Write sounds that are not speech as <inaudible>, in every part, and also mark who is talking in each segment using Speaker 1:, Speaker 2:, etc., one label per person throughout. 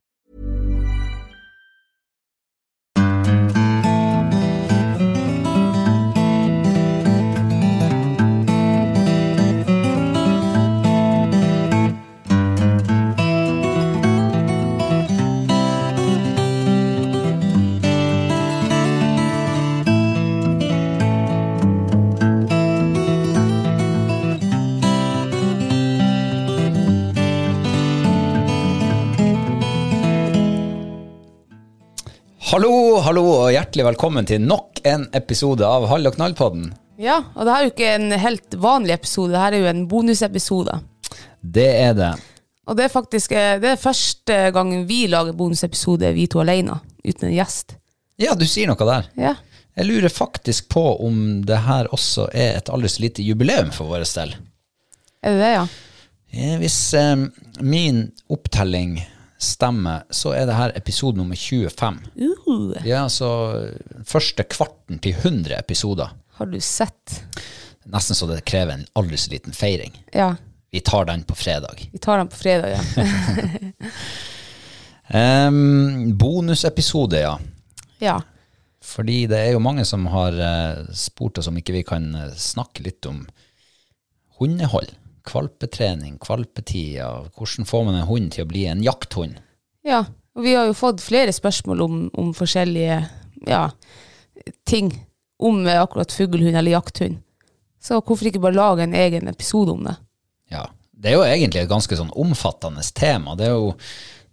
Speaker 1: Hallo, hallo og hjertelig velkommen til nok en episode av Hall og knall-podden.
Speaker 2: Ja, og det her er jo ikke en helt vanlig episode, det her er jo en bonusepisode.
Speaker 1: Det er det.
Speaker 2: Og det er faktisk eh, det er første gangen vi lager bonusepisode, vi to alene, uten en gjest.
Speaker 1: Ja, du sier noe der.
Speaker 2: Ja.
Speaker 1: Jeg lurer faktisk på om det her også er et aldri så lite jubileum for vår del.
Speaker 2: Er det det, ja?
Speaker 1: Eh, Hvis eh, min opptelling stemmer, så er det her episode nummer 25. Ja, så eh, første kvarten til 100 episoder.
Speaker 2: Har du sett?
Speaker 1: Nesten så det krever en aldri så liten feiring.
Speaker 2: Ja.
Speaker 1: Vi tar den på fredag.
Speaker 2: Vi tar den på fredag, ja.
Speaker 1: Em, bonusepisode, ja.
Speaker 2: ja.
Speaker 1: Fordi det er jo mange som har eh, spurt oss om ikke vi kan eh, snakke litt om hundehold. Kvalpetrening, kvalpetider, hvordan får man en hund til å bli en jakthund?
Speaker 2: Ja. Og vi har jo fått flere spørsmål om, om forskjellige ja, ting om eh, akkurat fuglehund eller jakthund. Så hvorfor ikke bare lage en egen episode om det?
Speaker 1: Ja, Det er jo egentlig et ganske sånn omfattende tema. Det er jo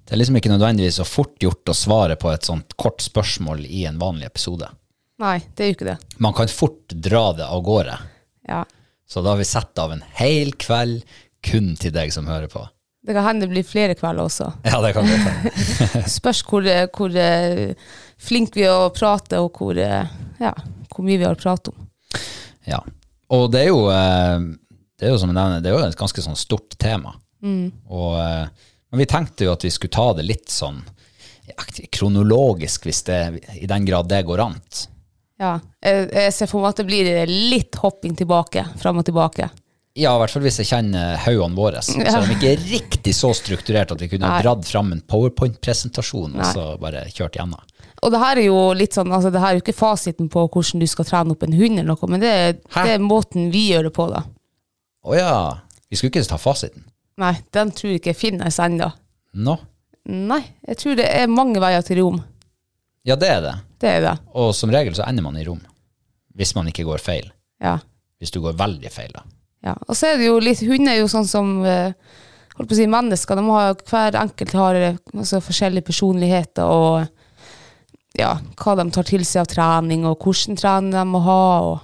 Speaker 1: det er liksom ikke nødvendigvis så fort gjort å svare på et sånt kort spørsmål i en vanlig episode.
Speaker 2: Nei, det er jo ikke det.
Speaker 1: Man kan fort dra det av gårde.
Speaker 2: Ja.
Speaker 1: Så da har vi satt av en hel kveld kun til deg som hører på.
Speaker 2: Det kan hende det blir flere kvelder også.
Speaker 1: Ja, det kan vi ta.
Speaker 2: Spørs hvor, eh, hvor eh, flink vi er å prate, og hvor, eh, ja, hvor mye vi har å prate om.
Speaker 1: Ja. Og det er jo, eh, det er jo som jeg nevner, det er jo et ganske sånn stort tema.
Speaker 2: Mm.
Speaker 1: Og, eh, men vi tenkte jo at vi skulle ta det litt sånn ja, kronologisk, hvis det, i den grad det går an.
Speaker 2: Ja. Jeg, jeg ser for meg at det blir litt hopping tilbake, fram og tilbake.
Speaker 1: Ja, i hvert fall hvis jeg kjenner haugene våre. Så er de ikke riktig så strukturert at vi kunne ha
Speaker 2: Nei.
Speaker 1: dratt fram en powerpoint-presentasjon og
Speaker 2: Nei.
Speaker 1: så bare kjørt gjennom.
Speaker 2: Og det her er jo litt sånn, altså det her er jo ikke fasiten på hvordan du skal trene opp en hund, eller noe, men det, er-
Speaker 1: Hæ?
Speaker 2: det er måten vi gjør det på, da.
Speaker 1: Å ja, vi skulle ikke ta fasiten.
Speaker 2: Nei, den tror jeg ikke finnes ennå.
Speaker 1: Nå?
Speaker 2: Nei, jeg tror det er mange veier til rom.
Speaker 1: Ja, det er det.
Speaker 2: Det er det.
Speaker 1: Og som regel så ender man i rom. Hvis man ikke går feil.
Speaker 2: Ja.
Speaker 1: Hvis du går veldig feil, da.
Speaker 2: Ja, og så er det jo litt, hunder er jo sånn som eh, holdt på å si mennesker, de har, hver enkelt har eh, altså, forskjellige personligheter og ja, hva de tar til seg av trening og hvordan trening de må ha, og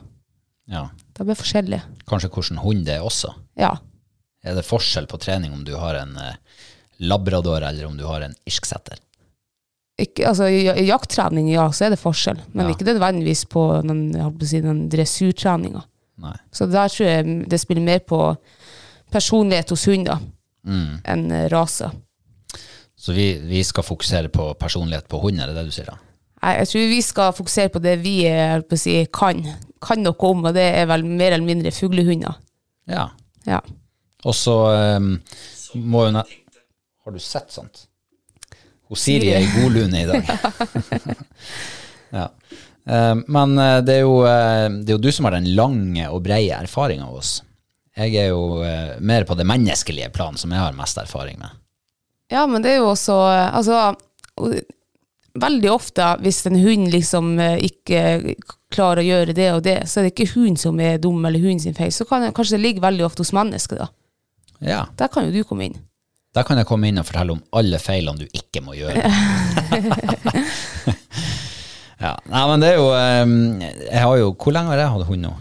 Speaker 1: Ja.
Speaker 2: de er forskjellige.
Speaker 1: Kanskje hvordan hund det er også.
Speaker 2: Ja,
Speaker 1: Er det forskjell på trening om du har en eh, labrador eller om du har en irsksetter?
Speaker 2: ikke, altså i, i jakttrening, ja, så er det forskjell, men
Speaker 1: Ja.
Speaker 2: ikke nødvendigvis på den, jeg holdt på å si, den dressurtreninga.
Speaker 1: Nei.
Speaker 2: Så der tror jeg det spiller mer på personlighet hos hunder enn eh, rase.
Speaker 1: Så vi, vi skal fokusere på personlighet på hund, er det det du sier da?
Speaker 2: Nei, jeg tror vi skal fokusere på det vi eh, holdt på å si, kan. kan noe om, og det er vel mer eller mindre fuglehunder.
Speaker 1: Ja. ehm,
Speaker 2: Ja.
Speaker 1: Og så eh, må hun Har du sett sånt? Hun Siri er i godlune i dag. <laughs> ja. Eh, Men eh, det er, jo, eh, det er jo du som har den lange og breie erfaringa av oss. Jeg er jo eh, mer på det menneskelige plan, som jeg har mest erfaring med.
Speaker 2: Ja, men det er jo også eh, Altså, og- veldig ofte hvis en hund liksom eh, ikke klarer å gjøre det og det, så er det ikke hun som er dum eller hun sin feil. Så kan, kanskje det ligger veldig ofte hos mennesket, da.
Speaker 1: Ja,
Speaker 2: Der kan jo du komme inn.
Speaker 1: Da kan jeg komme inn og fortelle om alle feilene du ikke må gjøre. <laughs> ja, Nei, men det er jo eh, Jeg har jo Hvor lenge har jeg hatt hund nå?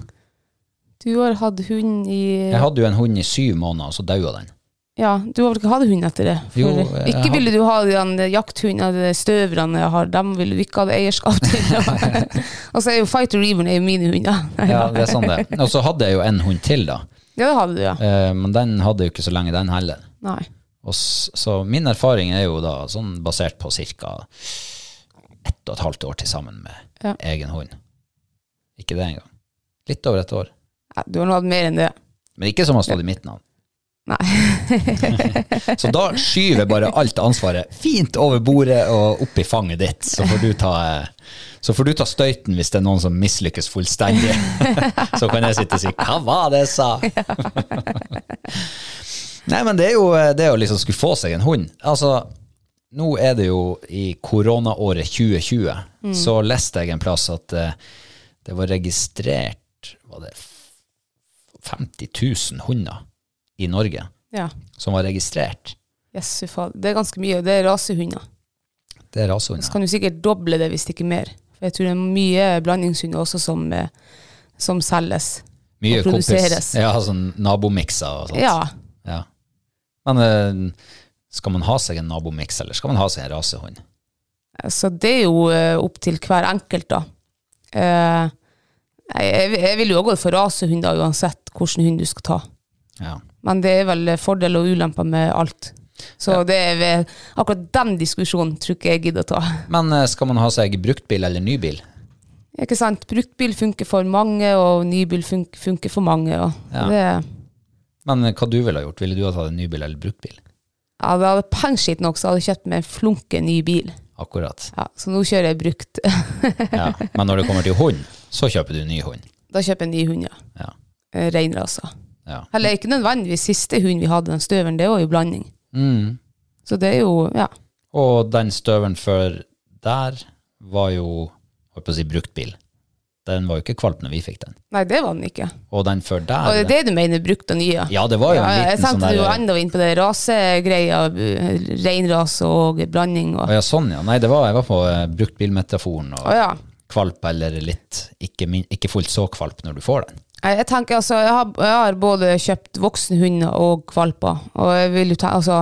Speaker 2: Du har hatt hund i
Speaker 1: Jeg hadde jo en hund i syv måneder, og så daua den.
Speaker 2: Ja, du har vel ikke hatt hund etter det? For
Speaker 1: Jo, jeg
Speaker 2: ikke
Speaker 1: hadde-
Speaker 2: ville du ha den jakthundene, støverne jeg har, dem ville du ikke ha eierskap til.
Speaker 1: <laughs>
Speaker 2: og så er jo Fighter Reaver er jo mine hunder.
Speaker 1: Ja, det er sånn det. Og så hadde jeg jo en hund til, da.
Speaker 2: Ja, det hadde du, ja.
Speaker 1: Eh, Men den hadde jo ikke så lenge, den heller.
Speaker 2: Nei.
Speaker 1: Og s- så min erfaring er jo da sånn basert på ca. ett og et halvt år til sammen med
Speaker 2: Ja.
Speaker 1: egen hund. Ikke det engang. Litt over et år.
Speaker 2: Ja, Du har nå hatt mer enn det.
Speaker 1: Men ikke som har stått i mitt navn.
Speaker 2: Nei.
Speaker 1: Så da skyver jeg bare alt ansvaret fint over bordet og opp i fanget ditt. Så får du ta, så får du ta støyten hvis det er noen som mislykkes fullstendig. Så kan jeg sitte og si 'hva var det jeg sa'? Nei, men det er jo det å liksom skulle få seg en hund. Altså, nå er det jo i koronaåret 2020, så leste jeg en plass at eh, det var registrert var det f- 50 000 hunder i Norge
Speaker 2: <laughs> ja.
Speaker 1: som var registrert.
Speaker 2: Jesu fader. Det er ganske mye, og det er rasehunder.
Speaker 1: Det er
Speaker 2: Så
Speaker 1: rasehunder.
Speaker 2: kan du sikkert doble det hvis ikke mer. For jeg tror det er mye blandingshunder også som, eh, som selges.
Speaker 1: Mye
Speaker 2: og produseres.
Speaker 1: kompis. Ja, sånn nabomikser og sånt.
Speaker 2: Ja.
Speaker 1: Ja. Men eh, skal man ha seg en nabomiks, eller skal man ha seg en rasehund?
Speaker 2: Så det er jo eh, opp til hver enkelt, da. Eh, jeg, jeg- jeg vil jo gå for rasehunder uansett hvilken hund du skal ta.
Speaker 1: Ja.
Speaker 2: Men det er vel fordel og ulemper med alt. Så det er vel, akkurat den diskusjonen tror ikke jeg gidder å ta.
Speaker 1: Men eh, skal man ha seg bruktbil eller nybil?
Speaker 2: Ikke sant? Bruktbil funker for mange, og nybil fun funker for mange. Og
Speaker 1: Ja.
Speaker 2: det,
Speaker 1: Men eh, hhva du ville ha gjort? Ville du ha tatt en nybil eller bruktbil?
Speaker 2: ja, det hadde pengskitt nok, så hadde jeg kjøpt meg en flunke ny bil.
Speaker 1: Akkurat.
Speaker 2: Ja, så nå kjører jeg brukt. <laughs>
Speaker 1: Ja. Men når det kommer til hund, så kjøper du ny hund.
Speaker 2: da kjøper jeg en ny hund, ja.
Speaker 1: Ja.
Speaker 2: Eh, Reinrasa.
Speaker 1: ja.
Speaker 2: Eller ikke nødvendigvis siste hund vi hadde, den støveren, det var jo blanding.
Speaker 1: Mm.
Speaker 2: Så det er jo, ja.
Speaker 1: Og den støvelen før der var jo, holdt på å si, bruktbil. Den var jo ikke kvalp når vi fikk den.
Speaker 2: Nei, det var den ikke.
Speaker 1: Og den før der
Speaker 2: Og det er det du mener brukt og nye?
Speaker 1: Ja, det var jo en
Speaker 2: jeg
Speaker 1: liten sånn
Speaker 2: tenkte
Speaker 1: der
Speaker 2: du var enda inn på det rasegreia, eh, reinrase og blanding og
Speaker 1: Å ja, sånn ja. Nei, det var, jeg var på eh, bruktbilmetaforen og
Speaker 2: Å ja.
Speaker 1: kvalp eller litt ikke, min, ikke fullt så kvalp når du får den.
Speaker 2: Nei, Jeg tenker altså, jeg har, jeg har både kjøpt voksne hunder og kvalper, og jeg vil jo ta, altså,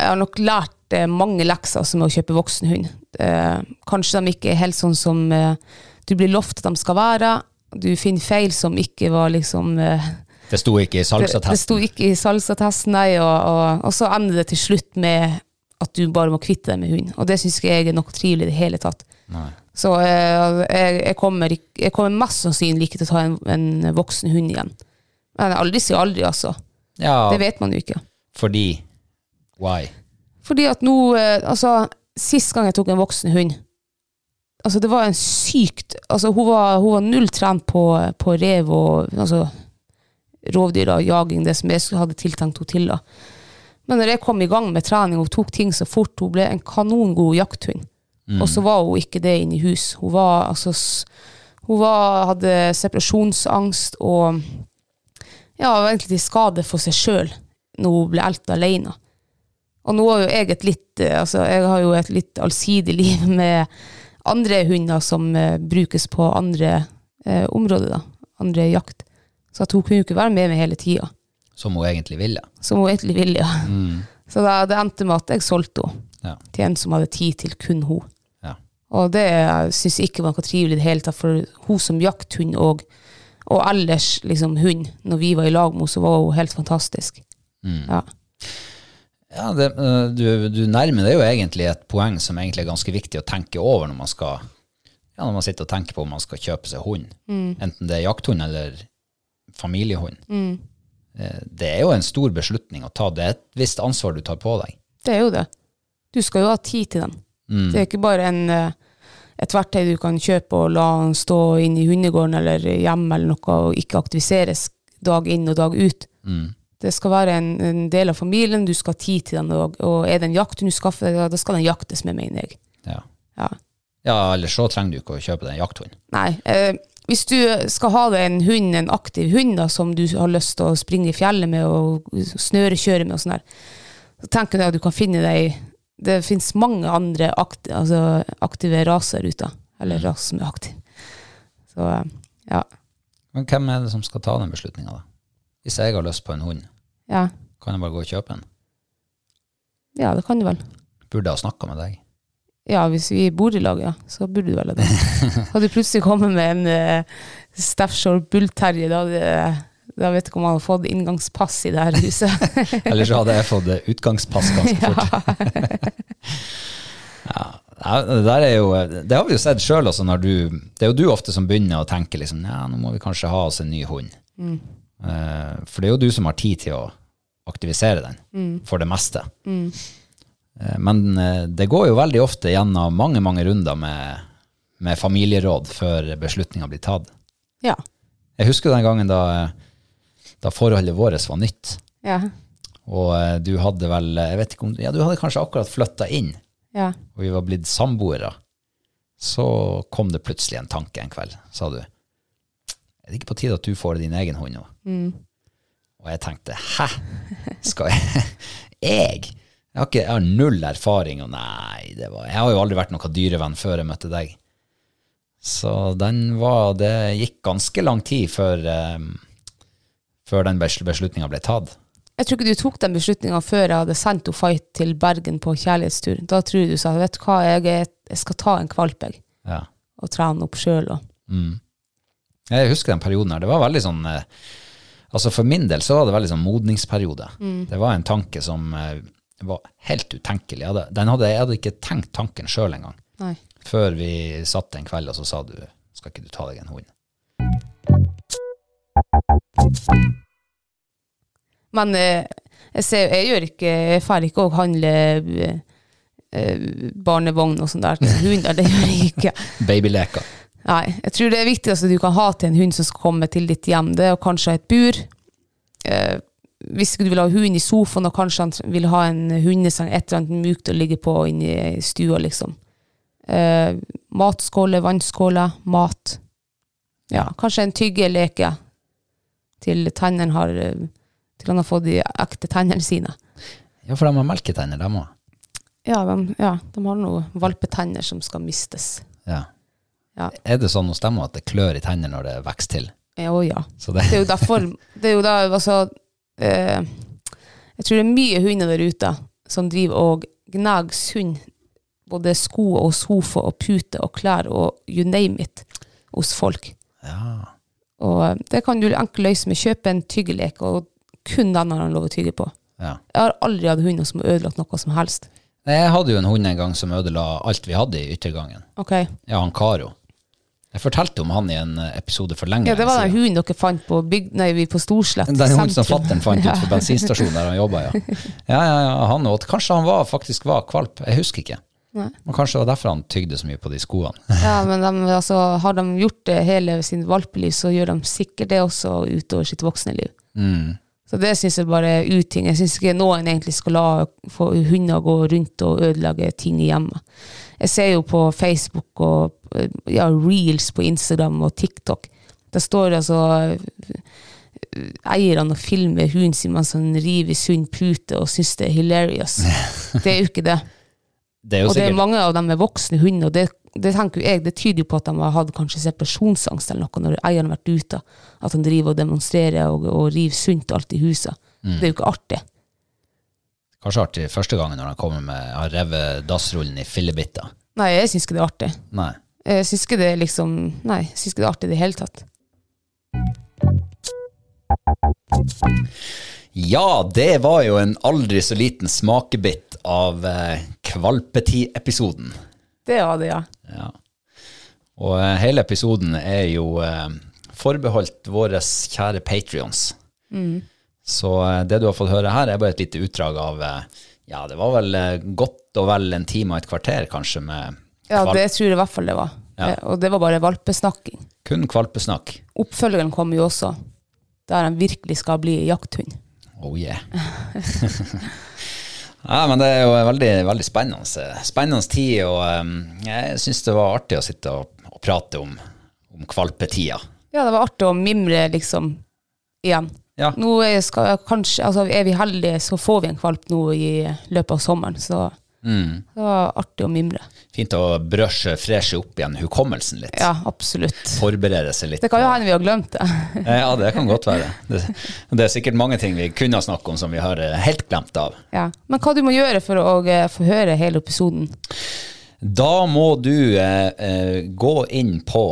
Speaker 2: jeg har nok lært eh, mange lekser som å kjøpe voksen hund. Eh, kanskje de ikke er helt sånn som eh, du blir lovt at de skal være, du finner feil som ikke var liksom eh,
Speaker 1: Det sto ikke i
Speaker 2: Det, det sto
Speaker 1: salgsattesten.
Speaker 2: ikke i salgsattesten, nei, og, og, og så ender det til slutt med at du bare må kvitte deg med hunden. Og det syns ikke jeg er noe trivelig i det hele tatt.
Speaker 1: Nei.
Speaker 2: Så eh, jeg, jeg, kommer, ikk- jeg kommer mest sannsynlig ikke til å ta en, en voksen hund igjen. Men aldri si aldri, altså.
Speaker 1: Ja,
Speaker 2: Det vet man jo ikke.
Speaker 1: fordi Why?
Speaker 2: Fordi at nå, eh, altså, sist gang jeg tok en voksen hund, altså det var en sykt, altså hun var, hun var null trent på, på rev og altså, rovdyr og jaging, det som jeg skulle- hadde tiltenkt henne til da. Men når jeg kom i gang med trening, hun tok ting så fort, hun ble en kanongod jakthund. Og så var hun ikke det inne i hus. Hun var, altså, s- hun var, hadde separasjonsangst og ja, var egentlig til skade for seg selv når hun ble elta alene. Og nå har jo jeg et litt eh, altså Jeg har jo et litt allsidig <laughs> liv med andre hunder som eh, brukes på andre eh, områder, da. Andre jakt. Så at hun kunne jo ikke være med meg hele tida,
Speaker 1: Som hun egentlig ville.
Speaker 2: som hun egentlig ville. ja. <laughs> Så da, det endte med at jeg solgte henne
Speaker 1: Ja.
Speaker 2: til en som hadde tid til kun henne.
Speaker 1: ja.
Speaker 2: Og det syns jeg ikke var noe trivelig i det hele tatt, for hun som jakthund og, og ellers liksom hund, når vi var i lag med henne, så var hun helt fantastisk. Ja.
Speaker 1: ja det, eh, du, du nærmer deg jo egentlig et poeng som egentlig er ganske viktig å tenke over når man skal ja, når man sitter og tenker på om man skal kjøpe seg hund.
Speaker 2: Mm.
Speaker 1: Enten det er jakthund eller familiehund.
Speaker 2: Mm.
Speaker 1: Eh, Det er jo en stor beslutning å ta. Det er et visst ansvar du tar på deg.
Speaker 2: Det er jo det. Du skal jo ha tid til den. Det er ikke bare en, eh, et verktøy du kan kjøpe og la den stå inne i hundegården eller hjemme eller noe og ikke aktiviseres dag inn og dag ut. Det skal være en, en del av familien, du skal ha tid til den, og, og er det en jakthund du skaffer deg, da- da skal den jaktes med, mener jeg.
Speaker 1: Ja.
Speaker 2: Ja.
Speaker 1: ja, ellers så trenger du ikke å kjøpe deg en jakthund.
Speaker 2: Nei. Eh, hvis du skal ha deg en hund, en aktiv hund da, som du har lyst til å springe i fjellet med og snørekjøre med og sånn der, så tenker jeg at du kan finne deg Det finnes mange andre aktive, altså aktive raser ute. Eller raser som er aktive. Så eh, ja.
Speaker 1: Men hvem er det som skal ta den beslutninga, da? Hvis jeg har lyst på en hund,
Speaker 2: ja.
Speaker 1: kan jeg bare gå og kjøpe en?
Speaker 2: Ja, det kan du vel.
Speaker 1: Burde jeg ha snakka med deg?
Speaker 2: Ja, hvis vi bor i lag, ja, så burde du vel ha det. Hadde du plutselig kommet med en uh, Staffshore Bull-Terje, da, hadde- da vet du ikke om han hadde fått inngangspass i det her huset.
Speaker 1: Eller så hadde jeg fått eh, utgangspass ganske fort. <laughs>
Speaker 2: ja.
Speaker 1: Ja, det, der er jo, det har vi jo sett sjøl. Altså, når du- det er jo du ofte som begynner å tenke liksom, ja, nå må vi kanskje ha oss en ny hund. Eh, for det er jo du som har tid til å aktivisere den, for det meste. Eh, men eh, det går jo veldig ofte gjennom mange mange runder med, med familieråd før beslutninga blir tatt.
Speaker 2: Ja.
Speaker 1: Jeg husker den gangen da, eh, da forholdet vårt var nytt,
Speaker 2: Ja.
Speaker 1: og eh, du hadde vel jeg vet ikke om, ja, Du hadde kanskje akkurat flytta inn
Speaker 2: Ja.
Speaker 1: og vi var blitt samboere, så kom det plutselig en tanke en kveld, sa du. Er det ikke på tide at du får din egen hund nå? Og jeg tenkte, hæ? Skal jeg? <laughs> jeg? Jeg har, ikke, jeg har null erfaring, og nei, det var, jeg har jo aldri vært noen dyrevenn før jeg møtte deg. Så den var, det gikk ganske lang tid før, eh, før den besl- beslutningen ble tatt.
Speaker 2: Jeg tror ikke du tok den beslutninga før jeg hadde sendt henne Fight til Bergen på kjærlighetstur. Da tror jeg du sa vet du hva, jeg, er, jeg skal ta en valp jeg,
Speaker 1: Ja.
Speaker 2: og trene opp sjøl.
Speaker 1: Jeg husker den perioden her. Det var veldig sånn eh, Altså For min del så var det veldig sånn modningsperiode.
Speaker 2: Mm.
Speaker 1: Det var en tanke som eh, var helt utenkelig. Jeg hadde, den hadde, jeg hadde ikke tenkt tanken sjøl engang.
Speaker 2: Nei.
Speaker 1: Før vi satt en kveld, og så sa du skal ikke du ta deg en hund?
Speaker 2: Men eh, jeg, ser, jeg gjør ikke Jeg drar ikke å handle eh, eh, barnevogn og sånn der til hunder. Det gjør jeg ikke.
Speaker 1: Babyleker.
Speaker 2: Nei, jeg tror det viktigste du kan ha til en hund som skal komme til ditt hjem, det er å kanskje ha et bur. Eh, hvis ikke du vil ha hund i sofaen, og kanskje han vil ha en hundeseng, et eller annet mykt å ligge på inni stua, liksom. Eh, matskåler, vannskåler, mat. Ja, kanskje en tyggeleke til tennene har eh, Til han har fått de ekte tennene sine.
Speaker 1: Ja, for de har melketenner, de òg.
Speaker 2: Ja, de, ja, de har noen valpetenner som skal mistes.
Speaker 1: Ja.
Speaker 2: Ja.
Speaker 1: Er det sånn hos dem også at det klør i tennene når det vokser til?
Speaker 2: Eh, Ja, og ja.
Speaker 1: Så det, <laughs>
Speaker 2: Det er jo derfor Det er jo da altså eh, Jeg tror det er mye hunder der ute som driver og gnager sund både sko og sofa og pute og klær og you name it hos folk.
Speaker 1: ja.
Speaker 2: Og eh, det kan du enkelt løse med å kjøpe en tyggelek, og kun den har han lov å tygge på.
Speaker 1: ja.
Speaker 2: Jeg har aldri hatt hunder som har ødelagt noe som helst.
Speaker 1: Nei, Jeg hadde jo en hund en gang som ødela alt vi hadde i yttergangen.
Speaker 2: Ok.
Speaker 1: Ja, han Karo. Jeg fortalte om han i en eh, episode for lenge
Speaker 2: Ja, det var
Speaker 1: siden.
Speaker 2: den hunden dere fant på bygd... Nei, vi på Storslett.
Speaker 1: Den hunden som
Speaker 2: sentrum.
Speaker 1: fatteren fant
Speaker 2: Ja.
Speaker 1: ut for bensinstasjonen der han jobba,
Speaker 2: <laughs>
Speaker 1: ja. Ja, ja, ja, han åt. Kanskje han var, faktisk var kvalp, jeg husker ikke.
Speaker 2: Nei.
Speaker 1: Men kanskje det var derfor han tygde så mye på de skoene. <laughs>
Speaker 2: Ja, men de, altså, har de gjort det hele sin valpeliv, så gjør de sikkert det også utover sitt voksne liv. Så det syns jeg bare er uting. Jeg syns ikke noen egentlig skal la få hunder gå rundt og ødelegge ting i hjemmet. Jeg ser jo på Facebook og eh, ja, reels på Instagram og TikTok. Der står det altså eh, eierne og filmer hunden sin mens han river i sunn pute og syns det er hilarious. Det er jo ikke det.
Speaker 1: Det er jo
Speaker 2: Og det er
Speaker 1: sikkert
Speaker 2: mange av dem er voksne hunder, og det, det tenker jo jeg, det tyder jo på at de har hatt kanskje separasjonsangst eller noe når eieren har vært ute. At han driver og demonstrerer og, og river sunt alt i huset.
Speaker 1: Mm.
Speaker 2: Det er jo ikke artig.
Speaker 1: kanskje artig første gangen når han kommer med har revet dassrullen i fillebiter.
Speaker 2: Nei, jeg syns ikke det er artig.
Speaker 1: Nei.
Speaker 2: Jeg syns ikke det er liksom Nei, jeg syns ikke det er artig i det hele tatt.
Speaker 1: Ja, det var jo en aldri så liten smakebit av eh, Kvalpeti-episoden.
Speaker 2: Det var det, ja.
Speaker 1: Ja. Og eh, hele episoden er jo eh, forbeholdt våre
Speaker 2: Mm.
Speaker 1: kjære patrions. Så eh, det du har fått høre her, er bare et lite utdrag av eh, Ja, det var vel eh, godt og vel en time og et kvarter, kanskje, med
Speaker 2: Ja,
Speaker 1: kval-
Speaker 2: det tror jeg i hvert fall det var. Eh, Og det var bare valpesnakking.
Speaker 1: kun kvalpesnakk.
Speaker 2: Oppfølgeren kommer jo også, der han virkelig skal bli jakthund.
Speaker 1: Oh yeah. <laughs> ja, men det er jo veldig, veldig spennende. Spennende tid, og eh, jeg syns det var artig å sitte og, og prate om, om kvalpetida.
Speaker 2: Ja, det var artig å mimre liksom igjen.
Speaker 1: Ja.
Speaker 2: Nå er, jeg skal, kanskje, altså, er vi heldige, så får vi en kvalp nå i løpet av sommeren. Så det var artig å mimre.
Speaker 1: Fint å brushe, freshe opp igjen hukommelsen litt.
Speaker 2: Ja, absolutt.
Speaker 1: Forberede seg litt.
Speaker 2: Det kan jo hende vi har glemt det. <laughs>
Speaker 1: Ja, det kan godt være. Det, det er sikkert mange ting vi kunne ha snakket om som vi har eh, helt glemt av.
Speaker 2: Ja. Men hva du må gjøre for å eh, få høre hele episoden?
Speaker 1: Da må du eh, eh, gå inn på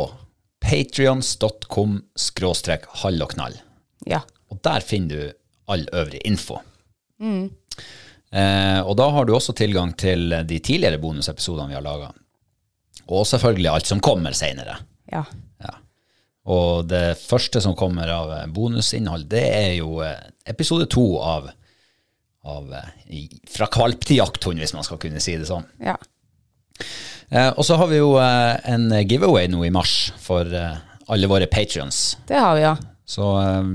Speaker 1: patrions.com skråstrek hall og knall.
Speaker 2: Ja.
Speaker 1: Og der finner du all øvrig info.
Speaker 2: Mm.
Speaker 1: Eh, og da har du også tilgang til de tidligere bonusepisodene vi har laga. Og selvfølgelig alt som kommer seinere.
Speaker 2: ja.
Speaker 1: Og det første som kommer av eh, bonusinnhold, det er jo eh, episode to av, av eh, i- Fra kvalp til jakthund, hvis man skal kunne si det sånn.
Speaker 2: ja.
Speaker 1: Eh, og så har vi jo eh, en giveaway nå i mars for eh, alle våre patrions.
Speaker 2: Det har vi, ja.
Speaker 1: Så eh,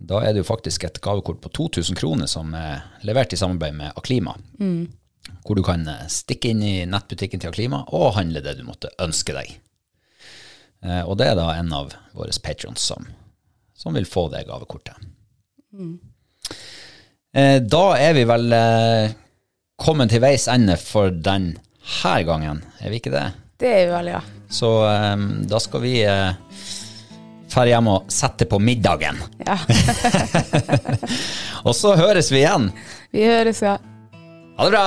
Speaker 1: da er det jo faktisk et gavekort på 2000 kroner som er levert i samarbeid med Aklima. Hvor du kan eh, stikke inn i nettbutikken til Aklima og handle det du måtte ønske deg. Eh, Og det er da en av våre patrons som, som vil få det gavekortet. Eh, Da er vi vel eh, kommet til veis ende for denne gangen, er vi ikke det?
Speaker 2: Det er vi vel, ja.
Speaker 1: Så eh, da skal vi eh, dra hjem og sette på middagen.
Speaker 2: ja. <laughs>
Speaker 1: Og så høres vi igjen.
Speaker 2: Vi høres, ja.
Speaker 1: Ha det bra!